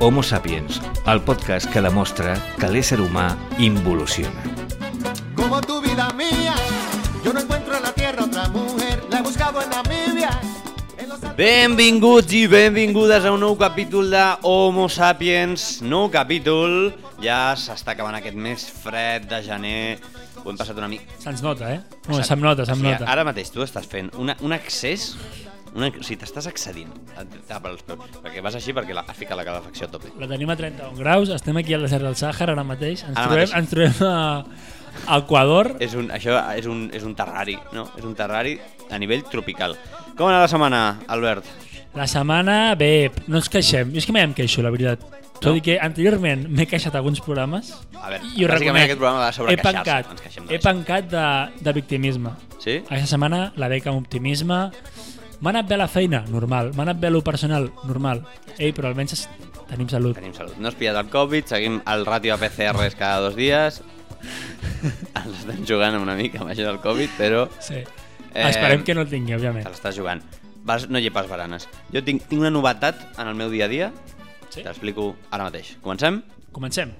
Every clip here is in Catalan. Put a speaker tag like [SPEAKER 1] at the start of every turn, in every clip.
[SPEAKER 1] Homo Sapiens, el podcast que demostra que l'ésser humà involuciona.
[SPEAKER 2] Como tu vida mía, yo no encuentro en la tierra otra mujer. La he buscado en Namibia. En los Alpes.
[SPEAKER 3] Benvinguts i benvingudes a un nou capítol de Homo Sapiens, nou capítol, ja s'està acabant aquest mes fred de gener, ho hem passat una mica...
[SPEAKER 4] Se'ns nota, eh? Bueno, se'm nota, se'm
[SPEAKER 3] o sigui,
[SPEAKER 4] nota.
[SPEAKER 3] Ara mateix tu estàs fent una, un accés, una, o sigui, t'estàs accedint, et tapa els peus, perquè vas així perquè la, has ficat la calefacció a tope.
[SPEAKER 4] La tenim a 31 graus, estem aquí al desert del Sàhara ara mateix, ens
[SPEAKER 3] Ara
[SPEAKER 4] trobem,
[SPEAKER 3] mateix.
[SPEAKER 4] Ens trobem a, a Equador.
[SPEAKER 3] És un, això és un, és un terrari, no? És un terrari a nivell tropical. Com ha anat la setmana, Albert?
[SPEAKER 4] La setmana, bé, no ens queixem. Jo és que mai em queixo, la veritat. Tot
[SPEAKER 3] No?
[SPEAKER 4] i que anteriorment m'he queixat a alguns programes.
[SPEAKER 3] A veure,
[SPEAKER 4] i ho
[SPEAKER 3] bàsicament
[SPEAKER 4] reconec.
[SPEAKER 3] aquest programa va sobre
[SPEAKER 4] He
[SPEAKER 3] queixar-se,
[SPEAKER 4] pencat,
[SPEAKER 3] ens queixem de la
[SPEAKER 4] he
[SPEAKER 3] gent.
[SPEAKER 4] pencat de, de victimisme.
[SPEAKER 3] Sí?
[SPEAKER 4] Aquesta setmana la veig amb optimisme. M'ha anat bé la feina? Normal. M'ha anat bé lo personal? Normal. Ei, però almenys es- tenim salut.
[SPEAKER 3] Tenim salut. No has pillat el Covid, seguim el ràtio de PCRs cada dos dies. Ens estem jugant una mica amb això del Covid, però
[SPEAKER 4] Sí.
[SPEAKER 3] Eh,
[SPEAKER 4] Esperem que no el tingui, òbviament.
[SPEAKER 3] te l'estàs jugant. Vas, no llepes baranes. Jo tinc, tinc una novetat en el meu dia a dia.
[SPEAKER 4] Sí?
[SPEAKER 3] T'explico ara mateix. Comencem?
[SPEAKER 4] Comencem.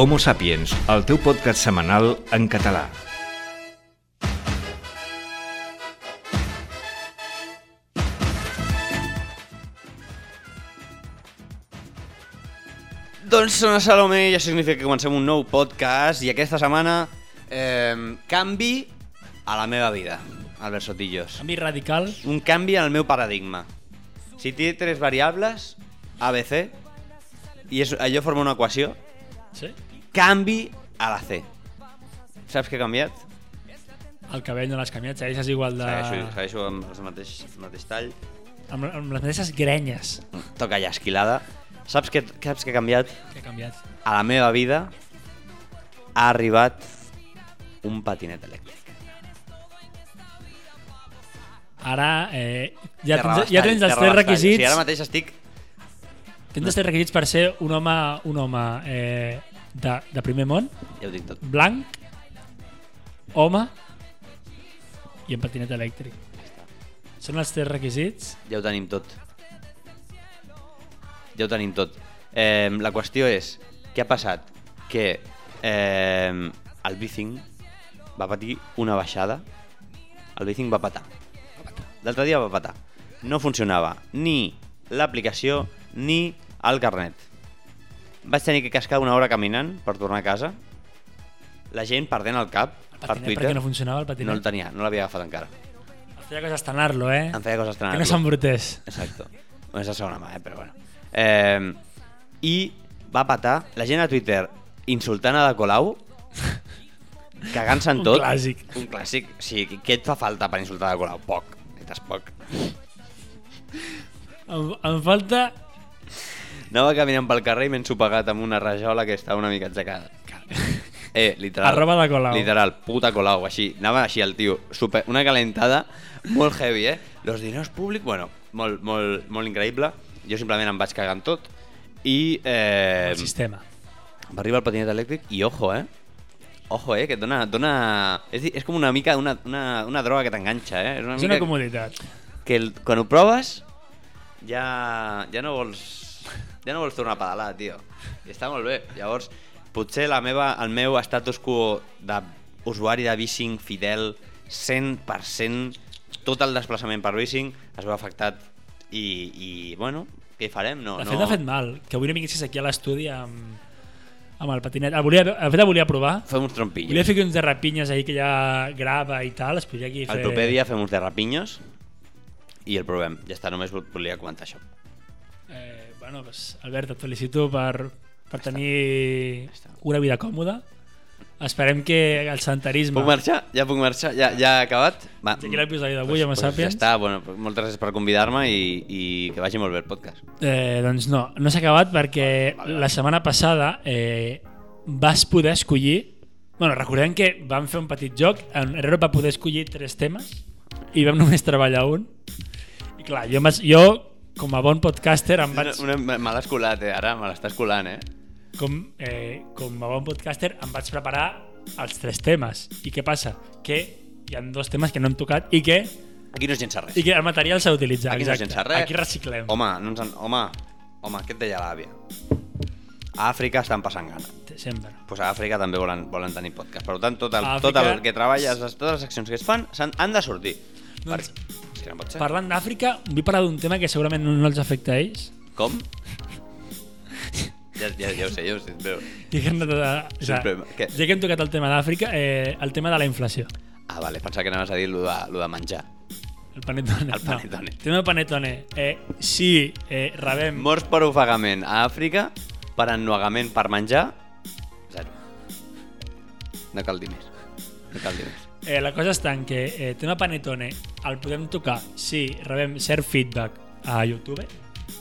[SPEAKER 1] Homo Sapiens, el teu podcast setmanal en català.
[SPEAKER 3] Doncs sona Salomé i això significa que comencem un nou podcast i aquesta setmana eh, canvi a la meva vida, Albert Sotillos.
[SPEAKER 4] Canvi radical.
[SPEAKER 3] un canvi en el meu paradigma. Si té tres variables, ABC, i és, allò forma una equació,
[SPEAKER 4] Sí?
[SPEAKER 3] canvi a la C. Saps què he canviat?
[SPEAKER 4] El cabell no l'has canviat, segueixes igual de...
[SPEAKER 3] Segueixo, segueixo amb el mateix, el mateix tall.
[SPEAKER 4] Amb, amb les mateixes grenyes
[SPEAKER 3] Toca ja esquilada. Saps què, saps què he canviat?
[SPEAKER 4] que ha canviat.
[SPEAKER 3] A la meva vida ha arribat un patinet elèctric.
[SPEAKER 4] Ara eh,
[SPEAKER 3] Terra
[SPEAKER 4] ja, tens, ja
[SPEAKER 3] Bastall,
[SPEAKER 4] tens els
[SPEAKER 3] Terra
[SPEAKER 4] tres
[SPEAKER 3] Bastall.
[SPEAKER 4] requisits.
[SPEAKER 3] Sí, ara mateix estic...
[SPEAKER 4] Tens els tres requisits per ser un home, un home eh, de, de primer món,
[SPEAKER 3] Ja ho dic tot.
[SPEAKER 4] blanc, home i amb patinet elèctric. Són els tres requisits.
[SPEAKER 3] Ja ho tenim tot. Ja ho tenim tot. Eh, la qüestió és, què ha passat? Que eh, el Bicing va patir una baixada. El Bicing va patar. L'altre dia va patar. No funcionava ni l'aplicació ni el carnet. Vaig tenir que cascar una hora caminant per tornar a casa. La gent perdent el cap
[SPEAKER 4] El
[SPEAKER 3] per
[SPEAKER 4] patinet,
[SPEAKER 3] Twitter.
[SPEAKER 4] perquè no funcionava el patinet.
[SPEAKER 3] no el tenia, no l'havia agafat encara.
[SPEAKER 4] Et feia cosa estrenar-lo, eh?
[SPEAKER 3] Em feia coses
[SPEAKER 4] Que
[SPEAKER 3] estranyes.
[SPEAKER 4] no s'embrutés.
[SPEAKER 3] Exacto. Bueno, és la segona mà, eh? però bueno. Eh, I va patar la gent a Twitter insultant a la Colau, cagant-se en
[SPEAKER 4] Un
[SPEAKER 3] tot.
[SPEAKER 4] clàssic.
[SPEAKER 3] Un clàssic. O sigui, què et fa falta per insultar a la Colau? Poc. Necessites poc.
[SPEAKER 4] Em, em falta...
[SPEAKER 3] Anava caminant pel carrer i m'he ensopegat amb una rajola que estava una mica aixecada. Eh, literal.
[SPEAKER 4] Arroba la Colau.
[SPEAKER 3] Literal, puta Colau, així. Anava així el tio. Super, una calentada molt heavy, eh? Los diners públics, bueno, molt, molt, molt increïble. Jo simplement em vaig cagant tot. I eh,
[SPEAKER 4] El sistema.
[SPEAKER 3] va arribar el patinet elèctric i ojo, eh? Ojo, eh? Que et dona... et dona... És, di- és com una mica una, una, una droga que t'enganxa, eh? És una
[SPEAKER 4] És
[SPEAKER 3] mica
[SPEAKER 4] una comoditat.
[SPEAKER 3] que el, quan ho proves ja, ja no vols ja no vols tornar a pedalar, tio i està molt bé, llavors potser la meva, el meu status quo d'usuari de bicing fidel 100% tot el desplaçament per bicing es veu afectat i, i bueno, què hi farem? No,
[SPEAKER 4] De
[SPEAKER 3] no...
[SPEAKER 4] fet, ha fet mal, que avui no vinguessis aquí a l'estudi amb, amb el patinet. El volia, de fet, el volia provar.
[SPEAKER 3] Fem uns trompillos.
[SPEAKER 4] Volia fer uns derrapinyes ahir que ja grava i tal, es podria aquí fer...
[SPEAKER 3] El proper dia fem uns derrapinyos i el provem. Ja està, només vol- volia comentar això.
[SPEAKER 4] Eh, bueno, pues, Albert, et felicito per, per tenir una vida còmoda. Esperem que el santarisme...
[SPEAKER 3] Puc marxar? Ja puc marxar? Ja, ja ha acabat? Va,
[SPEAKER 4] Fins aquí l'episodi d'avui, Homo Sapiens.
[SPEAKER 3] Ja està, bueno, moltes gràcies per convidar-me i, i que vagi molt bé el podcast.
[SPEAKER 4] Eh, doncs no, no s'ha acabat perquè la setmana passada eh, vas poder escollir... Bueno, recordem que vam fer un petit joc, en Herrero va poder escollir tres temes i vam només treballar un. I clar, jo, em vaig, jo com a bon podcaster em vaig...
[SPEAKER 3] Una, una, me l'has colat, eh? Ara me l'estàs colant, eh?
[SPEAKER 4] com, eh, com a bon podcaster em vaig preparar els tres temes. I què passa? Que hi ha dos temes que no hem tocat i que,
[SPEAKER 3] Aquí no es llença res.
[SPEAKER 4] i que el material s'ha d'utilitzar.
[SPEAKER 3] Aquí no es
[SPEAKER 4] exacte.
[SPEAKER 3] llença res.
[SPEAKER 4] Aquí reciclem.
[SPEAKER 3] Home, no ens en... home, home, què et deia l'àvia? A Àfrica estan passant gana.
[SPEAKER 4] Sempre.
[SPEAKER 3] Pues a Àfrica també volen, volen tenir podcast. Per tant, tot el,
[SPEAKER 4] A
[SPEAKER 3] tot el
[SPEAKER 4] Àfrica-
[SPEAKER 3] que treballes, les, totes les accions que es fan, s'han- han de sortir.
[SPEAKER 4] Doncs-
[SPEAKER 3] Per... És que no pot ser.
[SPEAKER 4] Parlant d'Àfrica, vull parlar d'un tema que segurament no, no els afecta a ells.
[SPEAKER 3] Com? ja, ja, ja ho sé, ja ho sé. Però...
[SPEAKER 4] Ja que, hem de, o sea,
[SPEAKER 3] Sempre- què?
[SPEAKER 4] ja que hem tocat el tema d'Àfrica, eh, el tema de la inflació.
[SPEAKER 3] Ah, vale, pensava que anaves a dir lo de, lo de menjar.
[SPEAKER 4] El panetone.
[SPEAKER 3] El panetone.
[SPEAKER 4] No. Tema panetone. Eh, si eh, rebem...
[SPEAKER 3] Morts per ofegament a Àfrica, per ennuegament per menjar, zero. No cal dir més. No cal dir més.
[SPEAKER 4] Eh, la cosa està en que eh, tema panetone el podem tocar si rebem cert feedback a YouTube.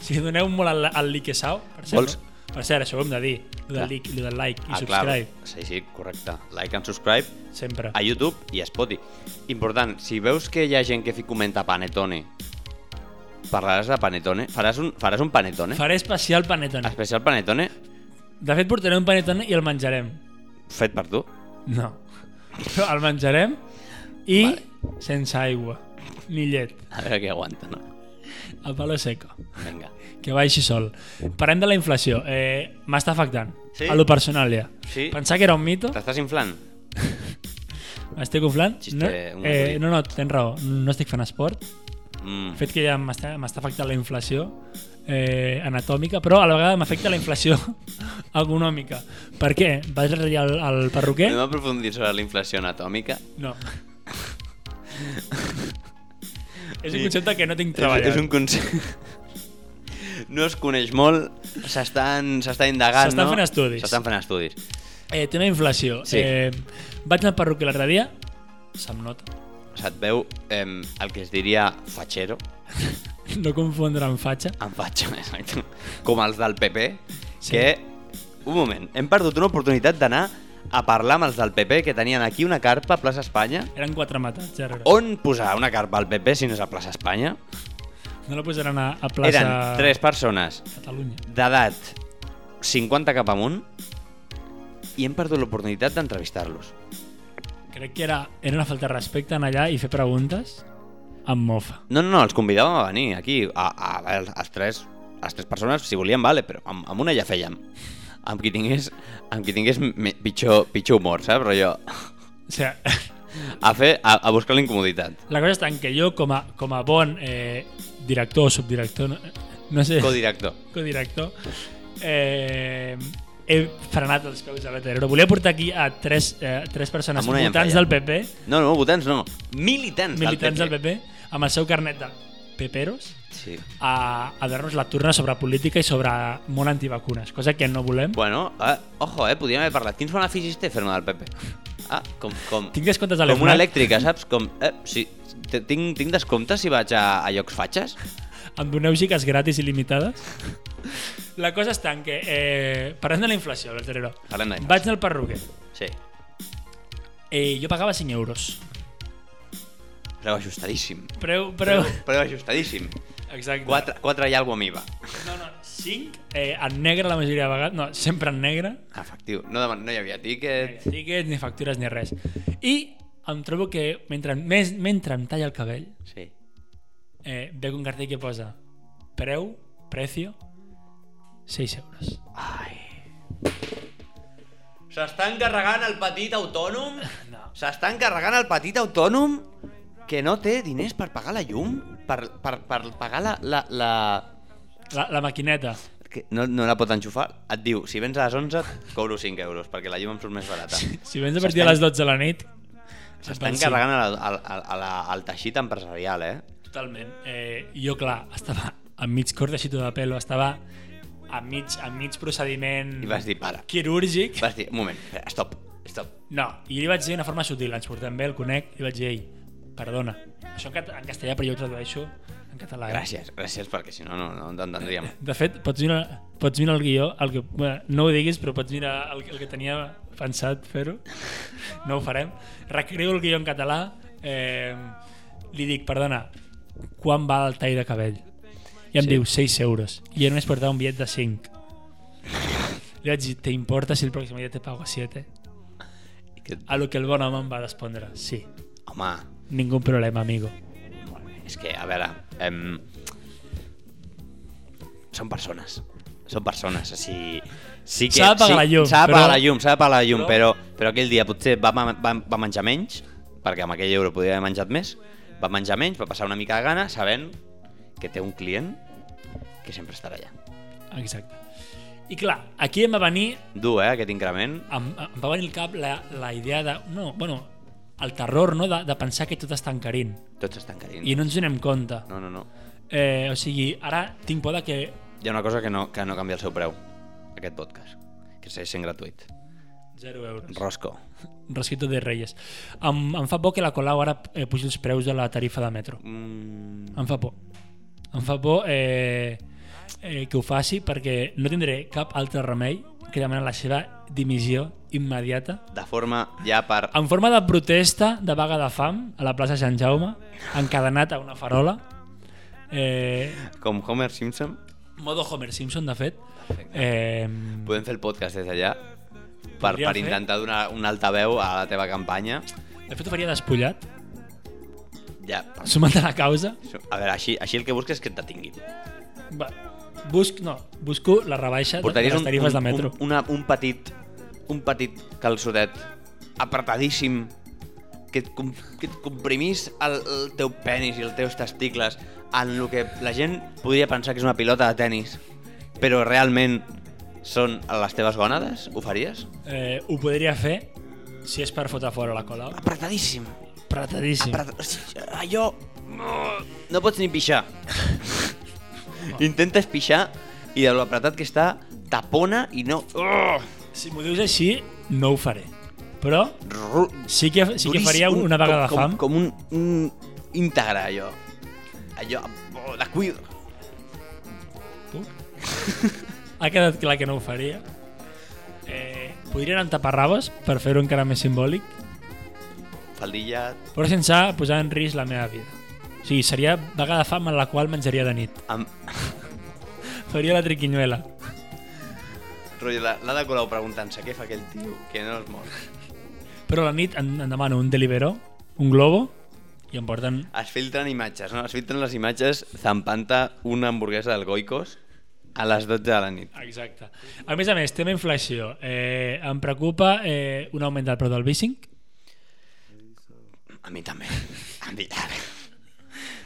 [SPEAKER 4] Si doneu molt al, al like i sau, per cert,
[SPEAKER 3] Vols-
[SPEAKER 4] no? per cert, això ho hem de dir, el
[SPEAKER 3] Clar.
[SPEAKER 4] del like, el del like i
[SPEAKER 3] Ah, clar.
[SPEAKER 4] subscribe,
[SPEAKER 3] Sí, sí, correcte. Like and subscribe
[SPEAKER 4] sempre.
[SPEAKER 3] a YouTube i a Spotify. Important, si veus que hi ha gent que fi comenta panetone, parlaràs de panetone? Faràs un, faràs un panetone?
[SPEAKER 4] Faré especial panetone.
[SPEAKER 3] Especial panetone
[SPEAKER 4] De fet, portaré un panetone i el menjarem.
[SPEAKER 3] fet per tu.
[SPEAKER 4] No. Però el menjarem i sense aigua, ni llet,
[SPEAKER 3] A veure qui aguanta, no?
[SPEAKER 4] a palo seco.
[SPEAKER 3] Vinga.
[SPEAKER 4] Que baixi sol. Parlem de la inflació. Eh, M'està afectant.
[SPEAKER 3] Sí?
[SPEAKER 4] A lo personal, ja.
[SPEAKER 3] Sí.
[SPEAKER 4] Pensar que era un mito,
[SPEAKER 3] T'estàs inflant?
[SPEAKER 4] m'estic inflant.
[SPEAKER 3] Xiste,
[SPEAKER 4] no,
[SPEAKER 3] un
[SPEAKER 4] eh,
[SPEAKER 3] acudit.
[SPEAKER 4] no, no, tens raó. No estic fent esport.
[SPEAKER 3] Mm.
[SPEAKER 4] El fet que ja m'està m'està afectant la inflació eh, anatòmica, però a la vegada m'afecta la inflació econòmica. Per què? Vas retallar al, al perruquer?
[SPEAKER 3] Anem a aprofundir sobre la inflació anatòmica.
[SPEAKER 4] No. és un concepte que no tinc treballat.
[SPEAKER 3] És, és un concepte... No es coneix molt, s'estan s'està indagant,
[SPEAKER 4] S'estan
[SPEAKER 3] no?
[SPEAKER 4] fent estudis.
[SPEAKER 3] S'estan fent estudis.
[SPEAKER 4] eh, tema inflació.
[SPEAKER 3] Sí.
[SPEAKER 4] Eh, vaig al perruquer l'altre dia, se'm nota.
[SPEAKER 3] Se't veu em, el que es diria fatxero,
[SPEAKER 4] No confondre amb fatxa.
[SPEAKER 3] en fatxa, exacte, com els del PP,
[SPEAKER 4] Sí.
[SPEAKER 3] que... Un moment, hem perdut una oportunitat d'anar a parlar amb els del PP que tenien aquí una carpa a plaça Espanya.
[SPEAKER 4] Eren quatre matats, ja rere.
[SPEAKER 3] On posar una carpa al PP si no és a plaça Espanya?
[SPEAKER 4] No la posaran a, a plaça
[SPEAKER 3] Eren tres persones
[SPEAKER 4] Catalunya.
[SPEAKER 3] d'edat 50 cap amunt i hem perdut l'oportunitat d'entrevistar-los.
[SPEAKER 4] Crec que era, era una falta de respecte anar allà i fer preguntes amb mofa.
[SPEAKER 3] No, no, no, els convidàvem a venir aquí, a, a, a els tres, les tres persones, si volien, vale, però amb, amb una ja fèiem. Amb qui tingués, amb qui tingués me, pitjor, pitjor humor, saps? Però jo,
[SPEAKER 4] O sigui,
[SPEAKER 3] a, fer, a, a buscar la incomoditat.
[SPEAKER 4] la cosa està en que jo, com a, com a bon eh, director o subdirector, no, no sé,
[SPEAKER 3] Codirector.
[SPEAKER 4] codirector, eh, he frenat els peus a l'Eterero. Volia portar aquí a tres, eh, tres persones
[SPEAKER 3] Amb una
[SPEAKER 4] votants
[SPEAKER 3] llampa, ja.
[SPEAKER 4] del PP,
[SPEAKER 3] No, no, votants no. Militants,
[SPEAKER 4] militants
[SPEAKER 3] del
[SPEAKER 4] del
[SPEAKER 3] PP.
[SPEAKER 4] PP, amb el seu carnet de peperos,
[SPEAKER 3] Sí.
[SPEAKER 4] a, a dar-nos la turna sobre política i sobre món antivacunes, cosa que no volem.
[SPEAKER 3] Bueno, eh, ojo, eh, podríem haver parlat. Quins beneficis té fer-ne del PP? Ah, com, com,
[SPEAKER 4] Tinc descomptes
[SPEAKER 3] com
[SPEAKER 4] a
[SPEAKER 3] una
[SPEAKER 4] l'EFNAC
[SPEAKER 3] elèctrica, saps? Com, eh, sí, te- tinc, tinc descompte si vaig a, a llocs fatxes?
[SPEAKER 4] Em doneu gigas gratis il·limitades? La cosa està en que... Eh, parlant de la inflació, Berterero.
[SPEAKER 3] Parlem d'inflació.
[SPEAKER 4] Vaig anar al perruquer.
[SPEAKER 3] Sí.
[SPEAKER 4] Eh, jo pagava 5 euros.
[SPEAKER 3] Preu ajustadíssim.
[SPEAKER 4] Preu, preu...
[SPEAKER 3] Preu ajustadíssim.
[SPEAKER 4] Exacte.
[SPEAKER 3] 4, 4 i alguna cosa
[SPEAKER 4] No, no, 5 eh, en negre la majoria de vegades. No, sempre en negre.
[SPEAKER 3] Efectiu. No, dema- no hi havia tiquet.
[SPEAKER 4] Tickets, ni factures, ni res. I em trobo que mentre, més, mentre em talla el cabell,
[SPEAKER 3] Sí.
[SPEAKER 4] eh, veig un cartell que posa preu, precio, 6 euros.
[SPEAKER 3] Ai. S'està encarregant el petit autònom?
[SPEAKER 4] No.
[SPEAKER 3] S'està encarregant el petit autònom que no té diners per pagar la llum? Per, per, per pagar la... la, la...
[SPEAKER 4] La, la maquineta.
[SPEAKER 3] Que no, no la pot enxufar? Et diu, si vens a les 11, cobro 5 euros, perquè la llum em surt més barata.
[SPEAKER 4] Si vens a partir de les 12 de la nit...
[SPEAKER 3] S'està
[SPEAKER 4] et van
[SPEAKER 3] encarregant al, al, al, al, al teixit empresarial, eh?
[SPEAKER 4] Totalment. Eh, jo, clar, estava a mig cor de xito de pelo, estava a mig, a mig procediment
[SPEAKER 3] I vas dir, para.
[SPEAKER 4] quirúrgic.
[SPEAKER 3] Vas dir, un moment, espera, stop, stop.
[SPEAKER 4] No, i li vaig dir d'una forma sutil, ens portem bé, el conec, i vaig dir, ei, perdona, això en, cat en castellà, però jo ho tradueixo en català. eh?"
[SPEAKER 3] Gràcies, gràcies, perquè si no, no, no t'entendríem.
[SPEAKER 4] De fet, pots mirar, pots mirar el guió, el que, bueno, no ho diguis, però pots mirar el, el que tenia pensat fer-ho. No ho farem. Recreo el guió en català. Eh, li dic, perdona, quan val el tall de cabell? I
[SPEAKER 3] Sí.
[SPEAKER 4] em sí. diu 6 euros. I jo només portava un bitllet de 5. Li vaig dir, ¿te importa si el pròxim dia te pago 7?
[SPEAKER 3] I que-
[SPEAKER 4] A lo que el bon home em va respondre, sí.
[SPEAKER 3] Home,
[SPEAKER 4] Ningú problema, amigo.
[SPEAKER 3] és que, a veure... Em... Són persones. Són persones, o sigui... Sí que,
[SPEAKER 4] S'ha de pagar
[SPEAKER 3] sí,
[SPEAKER 4] la llum,
[SPEAKER 3] S'ha de
[SPEAKER 4] però-
[SPEAKER 3] pagar la llum, s'ha de pagar la llum, però,
[SPEAKER 4] però-
[SPEAKER 3] però aquell dia potser va, ma- va, va menjar menys, perquè amb aquell euro podria haver menjat més, va menjar menys, va passar una mica de gana, sabent que té un client que sempre estarà allà.
[SPEAKER 4] Exacte. I clar, aquí em va venir
[SPEAKER 3] Dur, eh, aquest increment.
[SPEAKER 4] em, em va venir al cap la, la idea de... No, bueno, el terror no? de, de pensar que tot està encarint
[SPEAKER 3] Tots estan carint.
[SPEAKER 4] i no ens donem compte.
[SPEAKER 3] no, no, no.
[SPEAKER 4] Eh, o sigui, ara tinc por de que...
[SPEAKER 3] Hi ha una cosa que no, que no canvia el seu preu, aquest podcast, que segueix sent gratuït.
[SPEAKER 4] 0 euros.
[SPEAKER 3] Rosco.
[SPEAKER 4] Resquito de Reyes. Em, em fa por que la Colau ara eh, pugi els preus de la tarifa de metro.
[SPEAKER 3] Mm,
[SPEAKER 4] Em fa por. Em fa por eh, eh, que ho faci perquè no tindré cap altre remei que demanar la seva dimissió immediata
[SPEAKER 3] de forma ja per...
[SPEAKER 4] en forma de protesta de vaga de fam a la plaça Sant Jaume, encadenat a una farola. Eh,
[SPEAKER 3] Com Homer Simpson,
[SPEAKER 4] modo Homer Simpson, de fet. Eh,
[SPEAKER 3] podem fer el podcast des d'allà per,
[SPEAKER 4] Podríem
[SPEAKER 3] per
[SPEAKER 4] fer.
[SPEAKER 3] intentar donar un altaveu a la teva campanya.
[SPEAKER 4] de fet, ho faria despullat,
[SPEAKER 3] Ja, per...
[SPEAKER 4] sumat a la causa.
[SPEAKER 3] A veure, així, així el que busques és que et detinguin.
[SPEAKER 4] Va, busc, no, busco la rebaixa de, de
[SPEAKER 3] Portaries
[SPEAKER 4] les
[SPEAKER 3] un,
[SPEAKER 4] tarifes
[SPEAKER 3] un,
[SPEAKER 4] de metro.
[SPEAKER 3] un, una, un petit un petit calçotet apretadíssim que et, com, que et comprimís el, el teu penis i els teus testicles en el que la gent podria pensar que és una pilota de tennis però realment són les teves gònades? Ho faries?
[SPEAKER 4] Eh, ho podria fer si és per fotre fora la cola.
[SPEAKER 3] Apretadíssim.
[SPEAKER 4] Apretadíssim.
[SPEAKER 3] Apret... O sigui, allò... No pots ni pixar. Intentes pixar i de lo apretat que està tapona i no...
[SPEAKER 4] Si m'ho dius així, no ho faré. Però
[SPEAKER 3] Ru-
[SPEAKER 4] sí que, sí que
[SPEAKER 3] Duríssim,
[SPEAKER 4] faria una vaga de
[SPEAKER 3] com,
[SPEAKER 4] fam.
[SPEAKER 3] Com, com un, un íntegre, allò. Allò, oh, de cuir.
[SPEAKER 4] Ha quedat clar que no ho faria. Eh, podria anar amb taparrabes per fer-ho encara més simbòlic,
[SPEAKER 3] Faldilla,
[SPEAKER 4] però sense posar en risc la meva vida. O sigui, seria vaga de fam en la qual menjaria de nit.
[SPEAKER 3] amb...
[SPEAKER 4] Faria la triquinyuela.
[SPEAKER 3] Rotllo, la- l'ha de Colau preguntant-se què fa aquell tio, que no es mor.
[SPEAKER 4] Però a la nit en, en demano un deliveró, un globo, i em porten...
[SPEAKER 3] Es filtren imatges, no? Es filtren les imatges zampanta una hamburguesa del Goicos a les 12 de la nit.
[SPEAKER 4] Exacte. A més a més, tema inflació. Eh, em preocupa eh, un augment del preu del bicing.
[SPEAKER 3] A mi també. A mi també.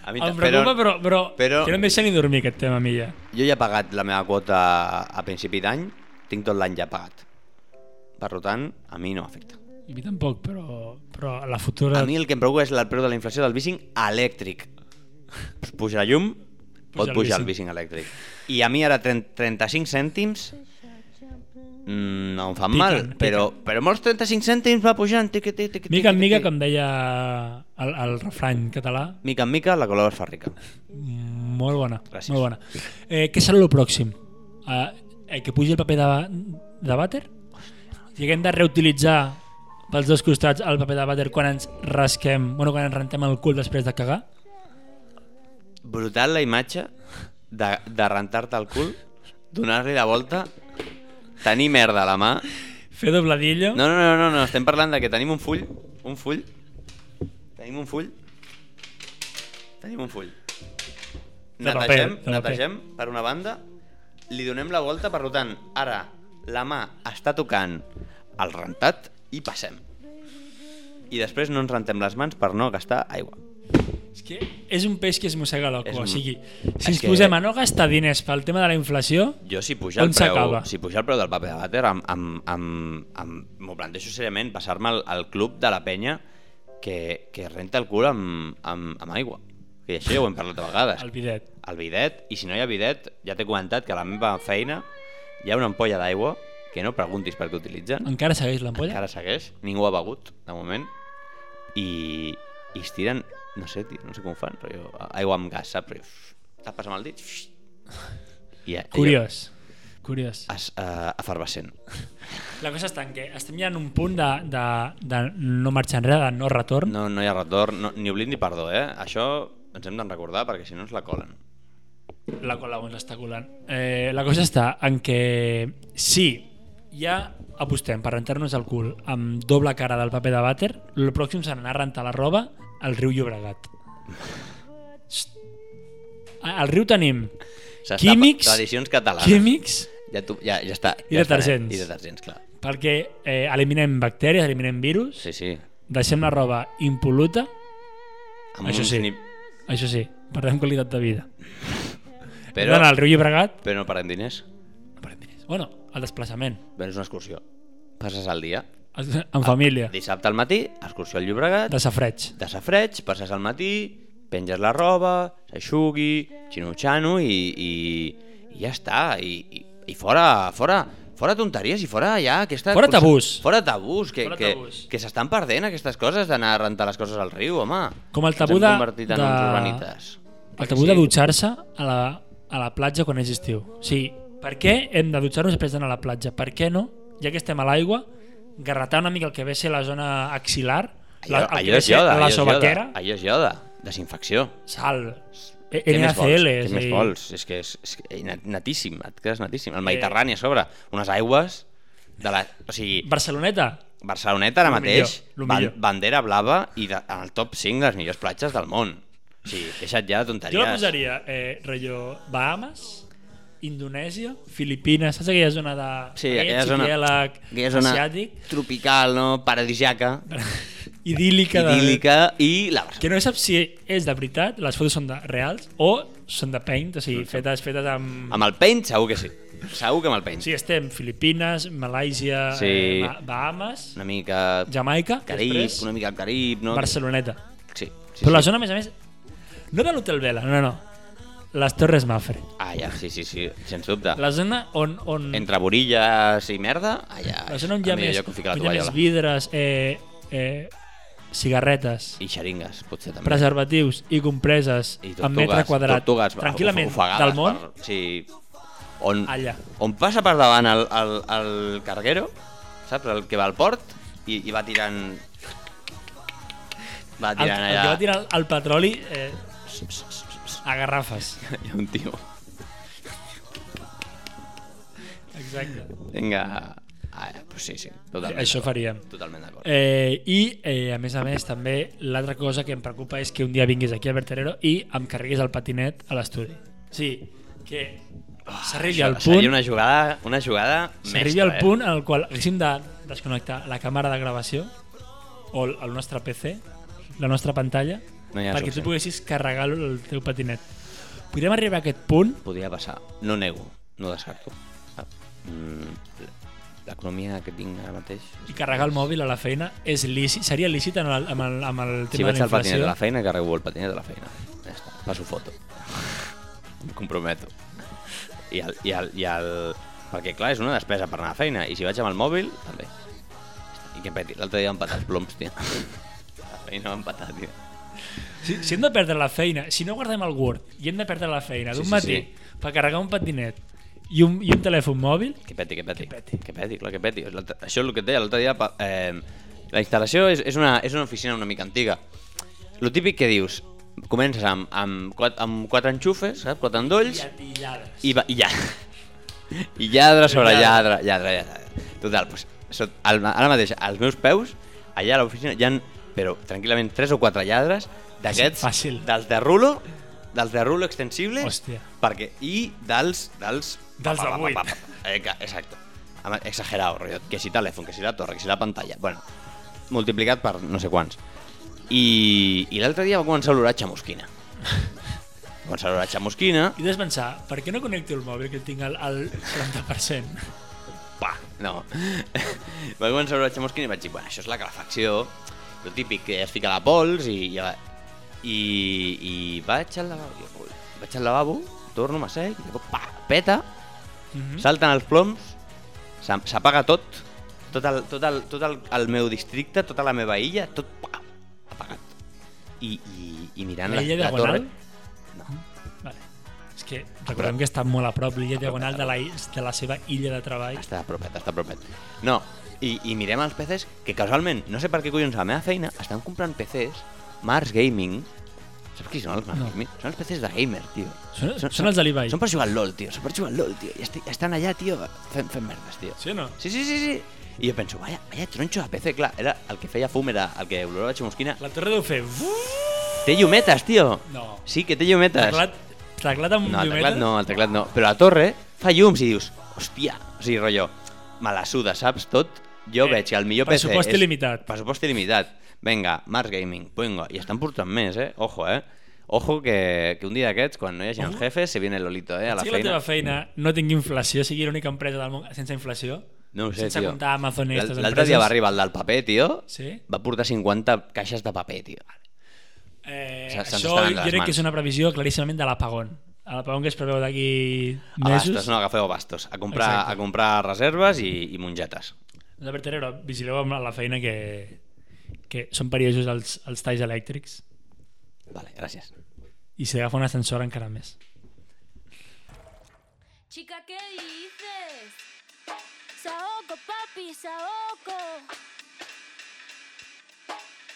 [SPEAKER 3] A mi
[SPEAKER 4] Em
[SPEAKER 3] també.
[SPEAKER 4] preocupa,
[SPEAKER 3] Però
[SPEAKER 4] però, però,
[SPEAKER 3] però-
[SPEAKER 4] que no em deixa ni dormir aquest tema a mi ja.
[SPEAKER 3] jo ja he pagat la meva quota a principi d'any, tinc tot l'any ja pagat. Per tant, a mi no m'afecta.
[SPEAKER 4] A mi tampoc, però, però la futura...
[SPEAKER 3] A mi el que em preocupa és el preu de la inflació del bicing elèctric. Pues Puja la llum, pot
[SPEAKER 4] el
[SPEAKER 3] pujar el
[SPEAKER 4] bicing.
[SPEAKER 3] bicing elèctric. I a mi ara 30, 35 cèntims mm, no em fan
[SPEAKER 4] Piquen,
[SPEAKER 3] mal,
[SPEAKER 4] piquen.
[SPEAKER 3] però, però molts 35 cèntims va pujant. Tiqui, tiqui, tiqui,
[SPEAKER 4] Mica en
[SPEAKER 3] tiqui,
[SPEAKER 4] mica,
[SPEAKER 3] tiqui.
[SPEAKER 4] com deia el, el refrany català,
[SPEAKER 3] mica en mica la Colau es fa rica.
[SPEAKER 4] molt bona.
[SPEAKER 3] Gràcies.
[SPEAKER 4] Molt bona. Eh, què serà el pròxim? Eh, eh, que pugi el paper de, de vàter? I haguem de reutilitzar pels dos costats el paper de vàter quan ens rasquem, bueno, quan ens rentem el cul després de cagar?
[SPEAKER 3] Brutal la imatge de, de rentar-te el cul, donar-li la volta, tenir merda a la mà.
[SPEAKER 4] Fer dobladillo?
[SPEAKER 3] No, no, no, no, no, estem parlant de que tenim un full, un full, tenim un full, tenim un full.
[SPEAKER 4] De paper,
[SPEAKER 3] Netegem,
[SPEAKER 4] de paper.
[SPEAKER 3] netegem per una banda, li donem la volta, per tant, ara la mà està tocant el rentat i passem. I després no ens rentem les mans per no gastar aigua.
[SPEAKER 4] És que és un peix que es mossega la
[SPEAKER 3] És
[SPEAKER 4] cua,
[SPEAKER 3] un-
[SPEAKER 4] o sigui,
[SPEAKER 3] és
[SPEAKER 4] si ens
[SPEAKER 3] que-
[SPEAKER 4] posem a no gastar diners pel tema de la inflació,
[SPEAKER 3] Jo si puja el
[SPEAKER 4] On
[SPEAKER 3] preu,
[SPEAKER 4] s'acaba?
[SPEAKER 3] si puja el preu del paper de vàter, em- em- em- em- m'ho plantejo seriament passar-me al, al club de la penya que, que renta el cul amb, amb, amb aigua. Que això ja ho hem parlat a vegades.
[SPEAKER 4] el bidet.
[SPEAKER 3] El bidet, i si no hi ha bidet, ja t'he comentat que a la meva feina hi ha una ampolla d'aigua que no preguntis per què utilitzen.
[SPEAKER 4] Encara segueix l'ampolla?
[SPEAKER 3] Encara segueix, ningú ha begut, de moment, i, i es tiren, no sé, tio, no sé com ho fan, però jo, aigua amb gas, saps? Però tapes amb el dit... I, ja-
[SPEAKER 4] Curiós. Curiós.
[SPEAKER 3] es, eh, efervescent.
[SPEAKER 4] La cosa està en què estem ja en un punt de, de, de no marxar enrere, de no retorn.
[SPEAKER 3] No, no hi ha retorn, no, ni oblit ni perdó, eh? Això ens hem de recordar perquè si no ens la colen.
[SPEAKER 4] La Colau ens està colant. Eh, la cosa està en que sí, ja apostem per rentar-nos el cul amb doble cara del paper de vàter, el pròxim serà anar a rentar la roba al riu Llobregat. Xxt. A- Al riu tenim
[SPEAKER 3] S'està-
[SPEAKER 4] químics,
[SPEAKER 3] Tradicions catalanes.
[SPEAKER 4] químics,
[SPEAKER 3] Ja, tu, ja, ja està.
[SPEAKER 4] I
[SPEAKER 3] ja està,
[SPEAKER 4] detergents.
[SPEAKER 3] eh? I detergents, clar.
[SPEAKER 4] perquè eh, eliminem bacteris, eliminem virus,
[SPEAKER 3] Sí, sí.
[SPEAKER 4] deixem la roba impol·luta,
[SPEAKER 3] Amb
[SPEAKER 4] Això
[SPEAKER 3] un
[SPEAKER 4] sí.
[SPEAKER 3] snip-
[SPEAKER 4] això sí, perdem qualitat de vida. Però...
[SPEAKER 3] Però,
[SPEAKER 4] Hem d'anar al riu Llobregat,
[SPEAKER 3] però no parem diners.
[SPEAKER 4] bueno, al desplaçament,
[SPEAKER 3] Vens una excursió. Passes el dia. Ah,
[SPEAKER 4] en família,
[SPEAKER 3] Dissabte al matí, excursió al Llobregat,
[SPEAKER 4] de safreig.
[SPEAKER 3] de safreig, passes al matí, penges la roba, s'aixugui, xinutxano i, i, i ja està. I, i, i fora, fora, fora tonteries i fora ja aquesta...
[SPEAKER 4] Fora tabús.
[SPEAKER 3] Fora tabús, que,
[SPEAKER 4] Fora
[SPEAKER 3] que,
[SPEAKER 4] tabús.
[SPEAKER 3] que s'estan perdent aquestes coses d'anar a rentar les coses al riu, home.
[SPEAKER 4] Com el tabú
[SPEAKER 3] Ens
[SPEAKER 4] de-
[SPEAKER 3] hem convertit en
[SPEAKER 4] de-
[SPEAKER 3] uns urbanites.
[SPEAKER 4] El tabú de dutxar-se a, la, a la platja quan és estiu. O sigui, per què hem de dutxar-nos després d'anar a la platja? Per què no, ja que estem a l'aigua, garratar una mica el que ve a ser la zona axilar, la,
[SPEAKER 3] Allò,
[SPEAKER 4] el que
[SPEAKER 3] allò
[SPEAKER 4] ve a
[SPEAKER 3] és
[SPEAKER 4] ser
[SPEAKER 3] ioda,
[SPEAKER 4] la
[SPEAKER 3] allò és ioda,
[SPEAKER 4] sobaquera,
[SPEAKER 3] allò és ioda. Desinfecció.
[SPEAKER 4] sal, e-
[SPEAKER 3] Què més vols?
[SPEAKER 4] NaCl...
[SPEAKER 3] Què més vols? És que és, és que nat- natíssim, et quedes natíssim.
[SPEAKER 4] Eh.
[SPEAKER 3] El Mediterrani a sobre, unes aigües de la... O sigui,
[SPEAKER 4] Barceloneta,
[SPEAKER 3] Barceloneta ara
[SPEAKER 4] Lo
[SPEAKER 3] mateix,
[SPEAKER 4] millor, lo
[SPEAKER 3] ban-
[SPEAKER 4] millor.
[SPEAKER 3] bandera blava i de, en el top 5 de les millors platges del món. O sigui, deixa't ja de tonteries.
[SPEAKER 4] jo la posaria, eh, rotllo, Bahamas, Indonèsia, Filipines, saps aquella zona de...
[SPEAKER 3] Sí, aquella
[SPEAKER 4] aquell
[SPEAKER 3] zona,
[SPEAKER 4] arxipèlag
[SPEAKER 3] aquella zona
[SPEAKER 4] asiàtic,
[SPEAKER 3] tropical, no? paradisiaca,
[SPEAKER 4] idíl·lica, de-
[SPEAKER 3] idíl·lica i la Barcelona.
[SPEAKER 4] que no saps si és de veritat, les fotos són de reals o són de paint, o sigui, fetes, fetes amb...
[SPEAKER 3] Amb el paint segur que sí. Segur que amb el paint.
[SPEAKER 4] Sí, estem Filipines, Malàisia,
[SPEAKER 3] Sí.
[SPEAKER 4] eh, Ba- Bahamas,
[SPEAKER 3] Una mica
[SPEAKER 4] Jamaica,
[SPEAKER 3] Carib,
[SPEAKER 4] després
[SPEAKER 3] una mica el Carib, no?
[SPEAKER 4] Barceloneta.
[SPEAKER 3] Sí, sí,
[SPEAKER 4] Però la
[SPEAKER 3] sí.
[SPEAKER 4] zona, a més a més, no de l'Hotel Vela, no, no, les Torres Mafre.
[SPEAKER 3] Ah, ja, sí, sí, sí, sens dubte.
[SPEAKER 4] La zona on... on
[SPEAKER 3] Ah. Entre borilles i merda, allà.
[SPEAKER 4] la zona on hi ha
[SPEAKER 3] el millor
[SPEAKER 4] més,
[SPEAKER 3] lloc on ficar la
[SPEAKER 4] on hi ha més
[SPEAKER 3] tovallola.
[SPEAKER 4] vidres, eh, eh, cigarretes,
[SPEAKER 3] I xeringues, potser també.
[SPEAKER 4] preservatius i compreses
[SPEAKER 3] I
[SPEAKER 4] en metre quadrat,
[SPEAKER 3] tortugues
[SPEAKER 4] tranquil·lament,
[SPEAKER 3] ofegades
[SPEAKER 4] del món,
[SPEAKER 3] Per, sí, on,
[SPEAKER 4] allà.
[SPEAKER 3] on passa per davant el, el, el carguero, saps? El que va al port i, i va tirant... Va
[SPEAKER 4] El,
[SPEAKER 3] tirant
[SPEAKER 4] el
[SPEAKER 3] allà.
[SPEAKER 4] que va tirar el petroli eh, a garrafes.
[SPEAKER 3] Hi ha un tio.
[SPEAKER 4] Exacte.
[SPEAKER 3] Vinga. Ah, pues sí, sí. Totalment.
[SPEAKER 4] Això
[SPEAKER 3] d'acord.
[SPEAKER 4] faríem.
[SPEAKER 3] Totalment d'acord.
[SPEAKER 4] Eh, I, eh, a més a més, també l'altra cosa que em preocupa és que un dia vinguis aquí a Berterero i em carreguis el patinet a l'estudi. Sí, que s'arribi al
[SPEAKER 3] Ah,
[SPEAKER 4] punt,
[SPEAKER 3] Seria una jugada, una jugada
[SPEAKER 4] s'arribi
[SPEAKER 3] mestra,
[SPEAKER 4] al
[SPEAKER 3] eh?
[SPEAKER 4] punt en el qual haguéssim de desconnectar la càmera de gravació o el el nostre PC, la nostra pantalla,
[SPEAKER 3] No hi ha
[SPEAKER 4] perquè
[SPEAKER 3] suficient.
[SPEAKER 4] tu poguessis carregar el teu patinet. Podríem arribar a aquest punt
[SPEAKER 3] podria passar. No nego, no descarto. Ah, mm, L'economia que tinc ara mateix...
[SPEAKER 4] i carregar el mòbil a la feina és lícit, seria lícit en el, amb, el, amb el
[SPEAKER 3] Si
[SPEAKER 4] tema
[SPEAKER 3] vaig
[SPEAKER 4] de la
[SPEAKER 3] al patinet
[SPEAKER 4] inflació.
[SPEAKER 3] de la feina, carrego el patinet de la feina. Ja està, passo foto. Em comprometo. I el, i el, i el... Perquè, clar, és una despesa per anar a la feina. I si vaig amb el mòbil, també. I que peti. L'altre dia m'han patat ploms, tio. A la feina m'han patat, tio.
[SPEAKER 4] Si, si hem de perdre la feina, si no guardem el Word i hem de perdre la feina
[SPEAKER 3] Sí,
[SPEAKER 4] d'un
[SPEAKER 3] sí,
[SPEAKER 4] matí per carregar un patinet i un, i un telèfon mòbil,
[SPEAKER 3] Que peti, que peti. Que peti, que peti clar, que peti. L'altre- Això és el que et deia l'altre dia. pa- Eh, la instal·lació és, és, una, és una oficina una mica antiga. Lo típic que dius, comences amb, amb, quatre, amb quatre enxufes, saps? quatre endolls,
[SPEAKER 4] i lladres.
[SPEAKER 3] i, va, i ja. I lladre sobre
[SPEAKER 4] Lladre.
[SPEAKER 3] lladre, lladre, lladre. Total, pues, sot, al, ara mateix, als meus peus, allà a l'oficina, hi han, però tranquil·lament, tres o quatre lladres d'aquests,
[SPEAKER 4] Fàcil.
[SPEAKER 3] dels de rulo, dels de rulo extensible,
[SPEAKER 4] Hòstia.
[SPEAKER 3] perquè, i dels... dels
[SPEAKER 4] Dels de vuit.
[SPEAKER 3] Eh, que- Exacto. Ama- Exagerado, rotllo. Que si telèfon, que si la torre, que si la pantalla. Bueno, multiplicat per no sé quants. I, i l'altre dia va començar l'orar xamusquina. va començar l'orar xamusquina.
[SPEAKER 4] I has de pensar, per què no connecto el mòbil que tinc al, al 30%?
[SPEAKER 3] pa, no. vaig començar a veure Chamuskin i vaig dir, bueno, això és la calefacció, el típic que es fica la pols i ja va. I, i vaig al lavabo, jo, ui, vaig al lavabo, torno, m'assec, i de cop, pa, peta,
[SPEAKER 4] Mhm.
[SPEAKER 3] salten els ploms, s'am- s'apaga tot, tot, el, tot, el, tot el, el meu districte, tota la meva illa, tot pa, apagat. I, i, i mirant
[SPEAKER 4] La
[SPEAKER 3] la,
[SPEAKER 4] illa
[SPEAKER 3] la,
[SPEAKER 4] diagonal? Mhm.
[SPEAKER 3] torre... No,
[SPEAKER 4] Vale. És que recordem que està molt a prop l'illa diagonal de la, is- de la seva illa de treball.
[SPEAKER 3] Està propet, està propet. No, i, i mirem els PCs que casualment, no sé per què collons a la meva feina, estan comprant PCs, Mars Gaming, Saps qui són els Mahamir? Són espècies de gamer, tio.
[SPEAKER 4] Són- són els de l'Ibai.
[SPEAKER 3] Són per jugar al LOL, tio. Són per jugar al LOL, tio. I esti- estan allà, tio, fent, fent merdes, tio.
[SPEAKER 4] Sí o no?
[SPEAKER 3] Sí, sí, sí, sí. I jo penso, vaya, vaya tronxo de PC, clar, era el que feia fum, era el que olorava ximosquina.
[SPEAKER 4] La torre deu fer...
[SPEAKER 3] Té llumetes, tio.
[SPEAKER 4] No.
[SPEAKER 3] Sí, que té llumetes.
[SPEAKER 4] Teclat, teclat amb
[SPEAKER 3] No, el
[SPEAKER 4] llumeta?
[SPEAKER 3] teclat no, el teclat no. Però la torre fa llums i dius, hòstia, o sigui, rotllo, me la suda, saps? Tot, jo
[SPEAKER 4] Eh,
[SPEAKER 3] veig que el millor PC...
[SPEAKER 4] pressupost
[SPEAKER 3] és-
[SPEAKER 4] il·limitat.
[SPEAKER 3] Pressupost il·limitat. Vinga, Mars Gaming, pongo. I estan portant més, eh? Ojo, eh? Ojo que, que un dia d'aquests, quan no hi hagi
[SPEAKER 4] Ojo.
[SPEAKER 3] jefes, se viene Lolito, eh? A la
[SPEAKER 4] Potser que la
[SPEAKER 3] feina.
[SPEAKER 4] teva feina no tingui inflació, sigui l'única empresa del món sense inflació.
[SPEAKER 3] No ho sé,
[SPEAKER 4] sense
[SPEAKER 3] tio.
[SPEAKER 4] comptar Amazon i
[SPEAKER 3] L'al-
[SPEAKER 4] aquestes
[SPEAKER 3] L'altre dia
[SPEAKER 4] empreses.
[SPEAKER 3] va arribar el del paper, tio.
[SPEAKER 4] Sí.
[SPEAKER 3] Va portar 50 caixes de paper, tio.
[SPEAKER 4] Eh,
[SPEAKER 3] Se- se'ns
[SPEAKER 4] això
[SPEAKER 3] estan anant
[SPEAKER 4] jo
[SPEAKER 3] les
[SPEAKER 4] crec que
[SPEAKER 3] mans.
[SPEAKER 4] és una previsió claríssimament de l'apagón. L'apagón que es preveu d'aquí
[SPEAKER 3] A
[SPEAKER 4] mesos.
[SPEAKER 3] bastos, Ah, no, agafeu bastos. A comprar,
[SPEAKER 4] Exacte.
[SPEAKER 3] a comprar reserves i, i mongetes.
[SPEAKER 4] Albert Herrero, vigileu amb la feina que, que són perillosos els, els talls elèctrics
[SPEAKER 3] Vale, gràcies.
[SPEAKER 4] i si agafa un ascensor encara més.
[SPEAKER 5] Chica, ¿qué dices? Saoco, papi, saoco.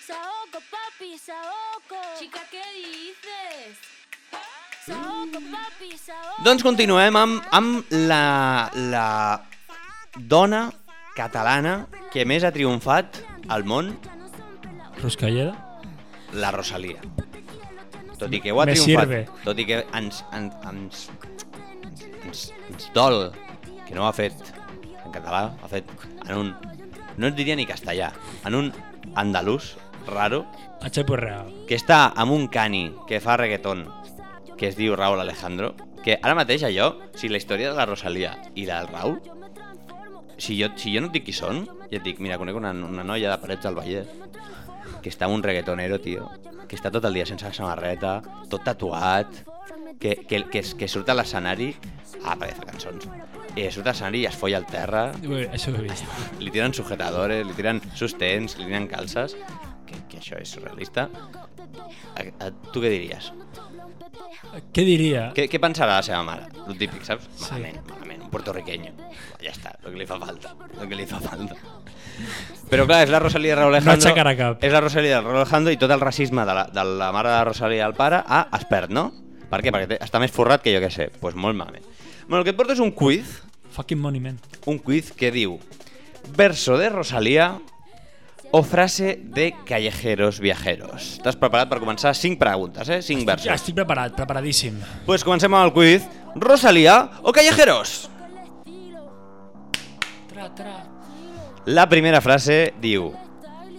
[SPEAKER 5] Saoco, papi, saoco. Chica, ¿qué dices? Saoco, papi, saoco.
[SPEAKER 3] Doncs continuem amb, amb la, la dona catalana que més ha triomfat al món,
[SPEAKER 4] Ruscalleda?
[SPEAKER 3] la Rosalia. Tot i que ho ha
[SPEAKER 4] Me
[SPEAKER 3] triomfat,
[SPEAKER 4] sirve.
[SPEAKER 3] tot i que ens, ens, ens, ens, ens dol que no ho ha fet en català, ho ha fet en un, no et diria ni castellà, en un andalús raro,
[SPEAKER 4] A Chepo Real.
[SPEAKER 3] que està amb un cani que fa reggaeton que es diu Raúl Alejandro que ara mateix allò, si la història de la Rosalia i la del Raúl si jo, si jo no et dic qui són ja et dic, mira, conec una, una noia de Parets del Vallès que està amb un reggaetonero, tio que està tot el dia sense samarreta tot tatuat que, que, que, que surt a l'escenari ah, perquè fa cançons eh, surt a l'escenari i es folla al terra
[SPEAKER 4] Ui, Això ho he vist.
[SPEAKER 3] li tiran sujetadores, li tiran sostens, li tiran calces, que, que això és surrealista. A, a, tu què diries?
[SPEAKER 4] Què diria?
[SPEAKER 3] Què, què pensarà la seva mare? El típic, saps? Malament, malament, un puertorriqueño. Ja està, el que li fa falta, el que li fa falta. Però clar, és la Rosalía de Raúl Alejandro.
[SPEAKER 4] aixecarà cap.
[SPEAKER 3] És la Rosalía de Raúl Alejandro i tot el racisme de la, de la mare de Rosalía al pare a expert, no? Per què? Perquè té- està més forrat que jo que sé. Doncs pues molt malament. Bueno, el que et porto és un quiz
[SPEAKER 4] Fucking monument.
[SPEAKER 3] un quiz que diu verso de Rosalía o frase de callejeros viajeros. T'has preparat per començar 5 preguntes, eh? 5
[SPEAKER 4] Ja
[SPEAKER 3] versos.
[SPEAKER 4] estic preparat, preparadíssim.
[SPEAKER 3] Pues comencem amb el quiz. Rosalía o callejeros? La primera frase diu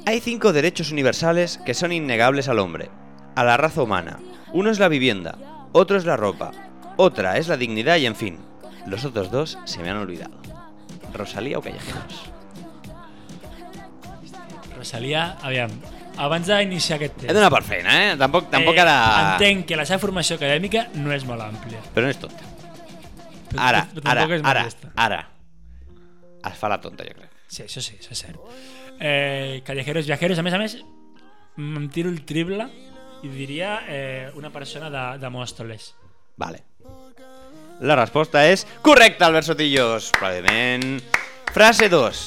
[SPEAKER 3] Hay cinco derechos universales que son innegables al hombre, a la raza humana. Uno es la vivienda, otro es la ropa, otra es la dignidad y en fin. Los otros dos se me han olvidado. Rosalía o callejeros?
[SPEAKER 4] Rosalia, aviam, abans d'iniciar aquest
[SPEAKER 3] He
[SPEAKER 4] test...
[SPEAKER 3] donat per feina, eh? Tampoc, tampoc ara...
[SPEAKER 4] Entenc que la seva formació acadèmica no és molt àmplia.
[SPEAKER 3] Però no és tonta.
[SPEAKER 4] Però-
[SPEAKER 3] Ara,
[SPEAKER 4] però
[SPEAKER 3] ara,
[SPEAKER 4] tampoc és
[SPEAKER 3] ara,
[SPEAKER 4] modesta.
[SPEAKER 3] ara. Es fa la tonta, jo crec.
[SPEAKER 4] Sí, això sí, això és cert. Eh, callejeros viajeros, a més a més, mm, em tiro el triple i diria eh, una persona de, de Mòstoles.
[SPEAKER 3] Vale. La resposta és correcta, Albert Sotillos. Probablement. Frase 2.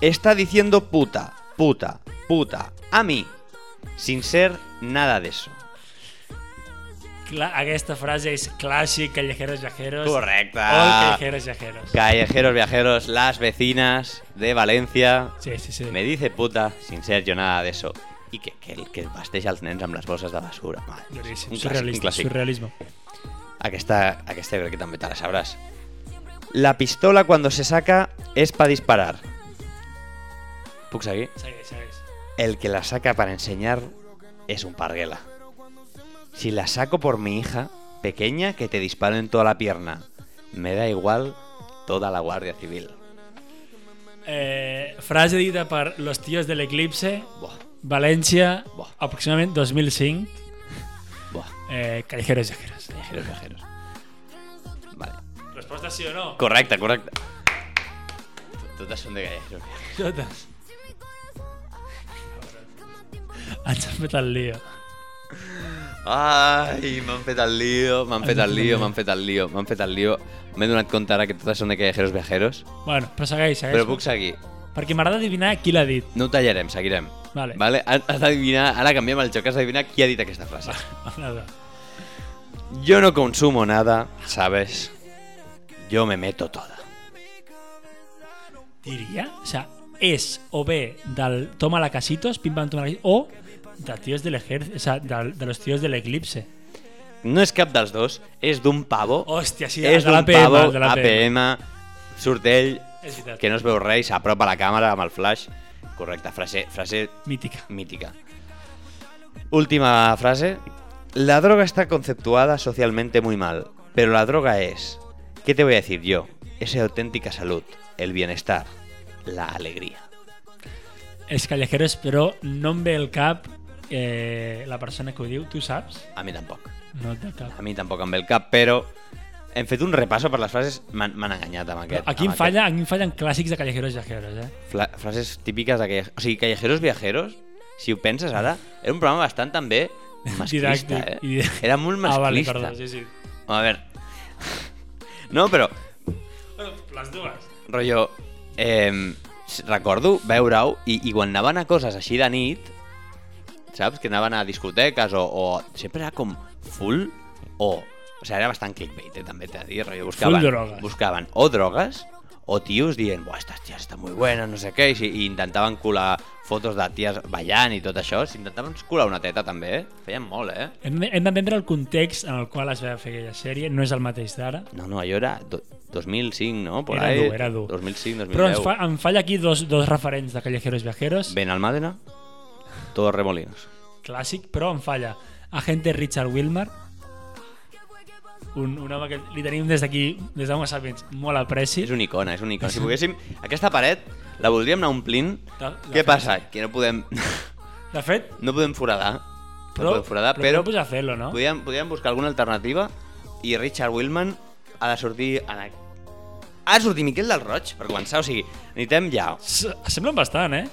[SPEAKER 3] Está diciendo puta, puta, puta, a mí, sin ser nada de eso.
[SPEAKER 4] Cla aquesta frase és clàssic, callejeros viajeros.
[SPEAKER 3] Correcte.
[SPEAKER 4] All callejeros viajeros.
[SPEAKER 3] Callejeros, viajeros, las vecinas de Valencia
[SPEAKER 4] Sí, sí, sí.
[SPEAKER 3] Me dice puta, sin ser jo nada de eso. I que, que, el- que es vesteix els nens amb les bosses de basura. Mare, meva,
[SPEAKER 4] Duríssim,
[SPEAKER 3] un clàssic, un
[SPEAKER 4] surrealista,
[SPEAKER 3] clàssic.
[SPEAKER 4] surrealisme.
[SPEAKER 3] Aquesta, aquesta crec que també te la sabràs. La pistola cuando se saca es para disparar. Puc seguir?
[SPEAKER 4] Segueix, segueix.
[SPEAKER 3] El que la saca para enseñar es un parguela. Si la saco por mi hija, pequeña, que te disparo en toda la pierna. Me da igual toda la Guardia Civil.
[SPEAKER 4] Eh, frase dita per los tíos de l'Eclipse,
[SPEAKER 3] Buah,
[SPEAKER 4] València,
[SPEAKER 3] Buah.
[SPEAKER 4] aproximadament 2005,
[SPEAKER 3] buah,
[SPEAKER 4] eh, callejeros viajeros.
[SPEAKER 3] viajeros, viajeros. Vale.
[SPEAKER 4] Resposta sí o no?
[SPEAKER 3] Correcte, correcte. Totes són de eh? galleros.
[SPEAKER 4] Totes. Ens han fet el lío.
[SPEAKER 3] Ai, m'han fet el lío, m'han fet el lío, m'han fet el lío, m'han fet el lío. M'he donat compte ara que totes són de callejeros viajeros.
[SPEAKER 4] Bueno, però segueix, segueix.
[SPEAKER 3] Però puc seguir.
[SPEAKER 4] Perquè m'agrada adivinar qui l'ha dit.
[SPEAKER 3] No ho tallarem, seguirem.
[SPEAKER 4] Vale.
[SPEAKER 3] Vale? Has d'adivinar, ara canviem el joc, has d'adivinar qui ha dit aquesta frase.
[SPEAKER 4] Nada.
[SPEAKER 3] Yo no consumo nada, ¿sabes? Yo me meto toda.
[SPEAKER 4] Diria, o sea, és o bé del toma la casitos, pim pam toma la casitos, o de tíos del ejército, o sea, de, de los tíos del eclipse.
[SPEAKER 3] No és cap dels dos, és d'un pavo.
[SPEAKER 4] Hòstia, sí,
[SPEAKER 3] és
[SPEAKER 4] de
[SPEAKER 3] d'un
[SPEAKER 4] l'APM,
[SPEAKER 3] pavo,
[SPEAKER 4] de l'APM.
[SPEAKER 3] APM, surt ell,
[SPEAKER 4] És veritat.
[SPEAKER 3] que no es veu res, s'apropa a la càmera amb el flash. Correcte, frase, frase
[SPEAKER 4] Mítica.
[SPEAKER 3] mítica. Última frase. La droga está conceptuada socialmente muy mal, pero la droga es, ¿qué te voy a decir yo? Esa auténtica salud, el bienestar, la alegría.
[SPEAKER 4] Els callejeros, però no em ve el cap eh, la persona que ho diu, tu saps?
[SPEAKER 3] A mi tampoc.
[SPEAKER 4] No et ve el cap.
[SPEAKER 3] A mi tampoc em ve el cap, però hem fet un repasso per les frases, m'han m'han enganyat amb aquest.
[SPEAKER 4] Aquí em,
[SPEAKER 3] amb
[SPEAKER 4] falla, aquí em fallen clàssics de callejeros i callejeros, eh?
[SPEAKER 3] aquest. Fla frases típiques de Callejeros. O sigui, Callejeros Viajeros, si ho penses ara, era un programa bastant també masclista,
[SPEAKER 4] Didàctic i-
[SPEAKER 3] eh? Era molt masclista.
[SPEAKER 4] Ah, vale, perdó, sí, sí.
[SPEAKER 3] A veure... No, però
[SPEAKER 4] Bueno, les dues.
[SPEAKER 3] rotllo, eh, recordo veure-ho i, i quan anaven a coses així de nit, saps? Que anaven a discoteques o, o sempre era com full o... O sigui, era bastant clickbait, eh, també t'he de dir. Rotllo, buscaven,
[SPEAKER 4] drogues.
[SPEAKER 3] buscaven o drogues o tios dient, buah, estas tías estan muy buenas, no sé què, i, si- i intentaven colar fotos de ties ballant i tot això. S'intentaven colar una teta, també, eh? Feien molt, eh?
[SPEAKER 4] Hem, hem d'entendre el context en el qual es va fer aquella sèrie, no és el mateix d'ara.
[SPEAKER 3] No, no, allò era do- 2005, no? Por
[SPEAKER 4] Era
[SPEAKER 3] ahí,
[SPEAKER 4] dur, era dur.
[SPEAKER 3] 2005, 2010.
[SPEAKER 4] Però ens fa, em falla aquí dos, dos referents de Callejeros Viajeros,
[SPEAKER 3] Benalmádena, todos remolinos.
[SPEAKER 4] clàssic, però em falla. Agente Richard Wilmer, un, un home que li tenim des d'aquí, des d'Homo Sapiens, molt apreci.
[SPEAKER 3] És una icona, és una icona. Si poguéssim, aquesta paret la voldríem anar omplint.
[SPEAKER 4] La- la
[SPEAKER 3] Què
[SPEAKER 4] fem.
[SPEAKER 3] passa? Que no podem,
[SPEAKER 4] De fet,
[SPEAKER 3] no podem foradar.
[SPEAKER 4] però,
[SPEAKER 3] no podem foradar,
[SPEAKER 4] però
[SPEAKER 3] però,
[SPEAKER 4] podem posar Celo, no?
[SPEAKER 3] podríem, podríem buscar alguna alternativa i Richard Willman ha de sortir... En... a- Ha de sortir Miquel del Roig, per començar. O sigui, necessitem ja...
[SPEAKER 4] S- Semblen bastant, eh?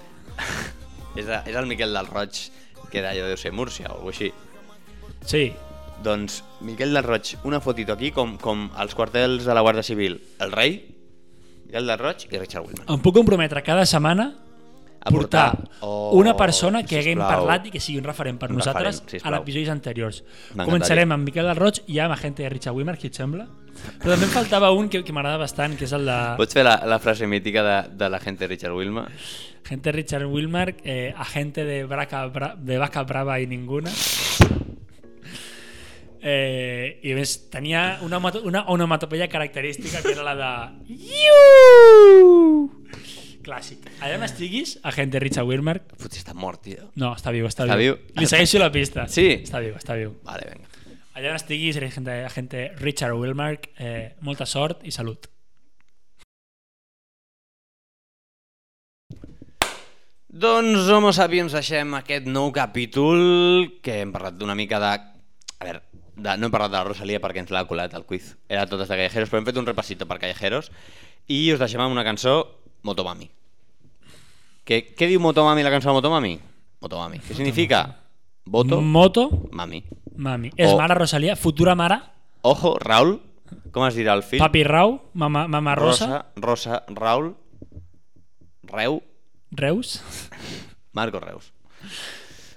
[SPEAKER 3] És, de, és el Miquel del Roig que d'allò deu ser Múrcia o alguna així.
[SPEAKER 4] Sí,
[SPEAKER 3] Doncs, Miquel del Roig, una fotito aquí com, com els quartels de la Guàrdia Civil. El rei, Miquel del Roig i Richard Willman.
[SPEAKER 4] em puc comprometre cada setmana a portar,
[SPEAKER 3] Oh,
[SPEAKER 4] una persona que haguem
[SPEAKER 3] sisplau.
[SPEAKER 4] parlat i que sigui un referent per
[SPEAKER 3] Un
[SPEAKER 4] nosaltres
[SPEAKER 3] referent, sisplau.
[SPEAKER 4] a episodis anteriors.
[SPEAKER 3] M'encantaria.
[SPEAKER 4] Començarem amb Miquel del Roig i amb la gent de Richard Wimmer, qui et sembla? Però també em faltava un que, que m'agrada bastant, que és el de
[SPEAKER 3] Pots fer la, la frase mítica de, de la gente Richard Wilma?
[SPEAKER 4] gente Richard Wilmer, eh, agente de, Braca, Bra, de Vaca Brava i Ninguna. Eh, I a més, tenia una, onomato- una onomatopeia característica que era la de... Iu! Clàssic. Allà on estiguis, agente Richard Wilmer,
[SPEAKER 3] Potser està mort, tio.
[SPEAKER 4] No, està viu, està,
[SPEAKER 3] Està
[SPEAKER 4] viu.
[SPEAKER 3] viu?
[SPEAKER 4] Li segueixo la pista.
[SPEAKER 3] Sí?
[SPEAKER 4] Està viu, està viu.
[SPEAKER 3] Vale, venga.
[SPEAKER 4] Allà on estiguis, agente, agente Richard Wilmark, eh, molta sort i salut.
[SPEAKER 3] Doncs, homo sapiens, deixem aquest nou capítol que hem parlat d'una mica de... A veure, de... no hem parlat de la Rosalia perquè ens l'ha colat el quiz. Era totes de Callejeros, però hem fet un repassito per Callejeros i us deixem amb una cançó, Motomami. Que, què diu Motomami, la cançó de Motomami? Motomami. Què significa? Voto,
[SPEAKER 4] Moto,
[SPEAKER 3] mami.
[SPEAKER 4] mami. És
[SPEAKER 3] O-
[SPEAKER 4] mare Rosalia, futura mare,
[SPEAKER 3] Ojo, Raúl, com es dirà el fill?
[SPEAKER 4] papi Rau, mama, mama Rosa,
[SPEAKER 3] Rosa, Raúl, Reu,
[SPEAKER 4] Reus.
[SPEAKER 3] Marco Reus.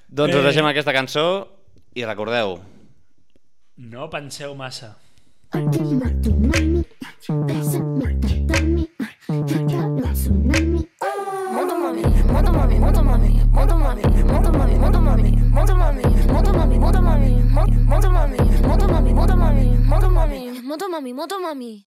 [SPEAKER 3] Doncs
[SPEAKER 4] Eh.
[SPEAKER 3] us deixem aquesta cançó i recordeu,
[SPEAKER 4] No penseu massa.
[SPEAKER 6] Mato mami, bésame, dame, yo abrazo mami.
[SPEAKER 7] Moto mami, moto mami, moto mami, moto mami, moto mami, moto mami, moto mami, moto mami, moto mami, moto mami, moto mami, moto mami, moto mami, moto mami.
[SPEAKER 5] Moto mami, moto mami.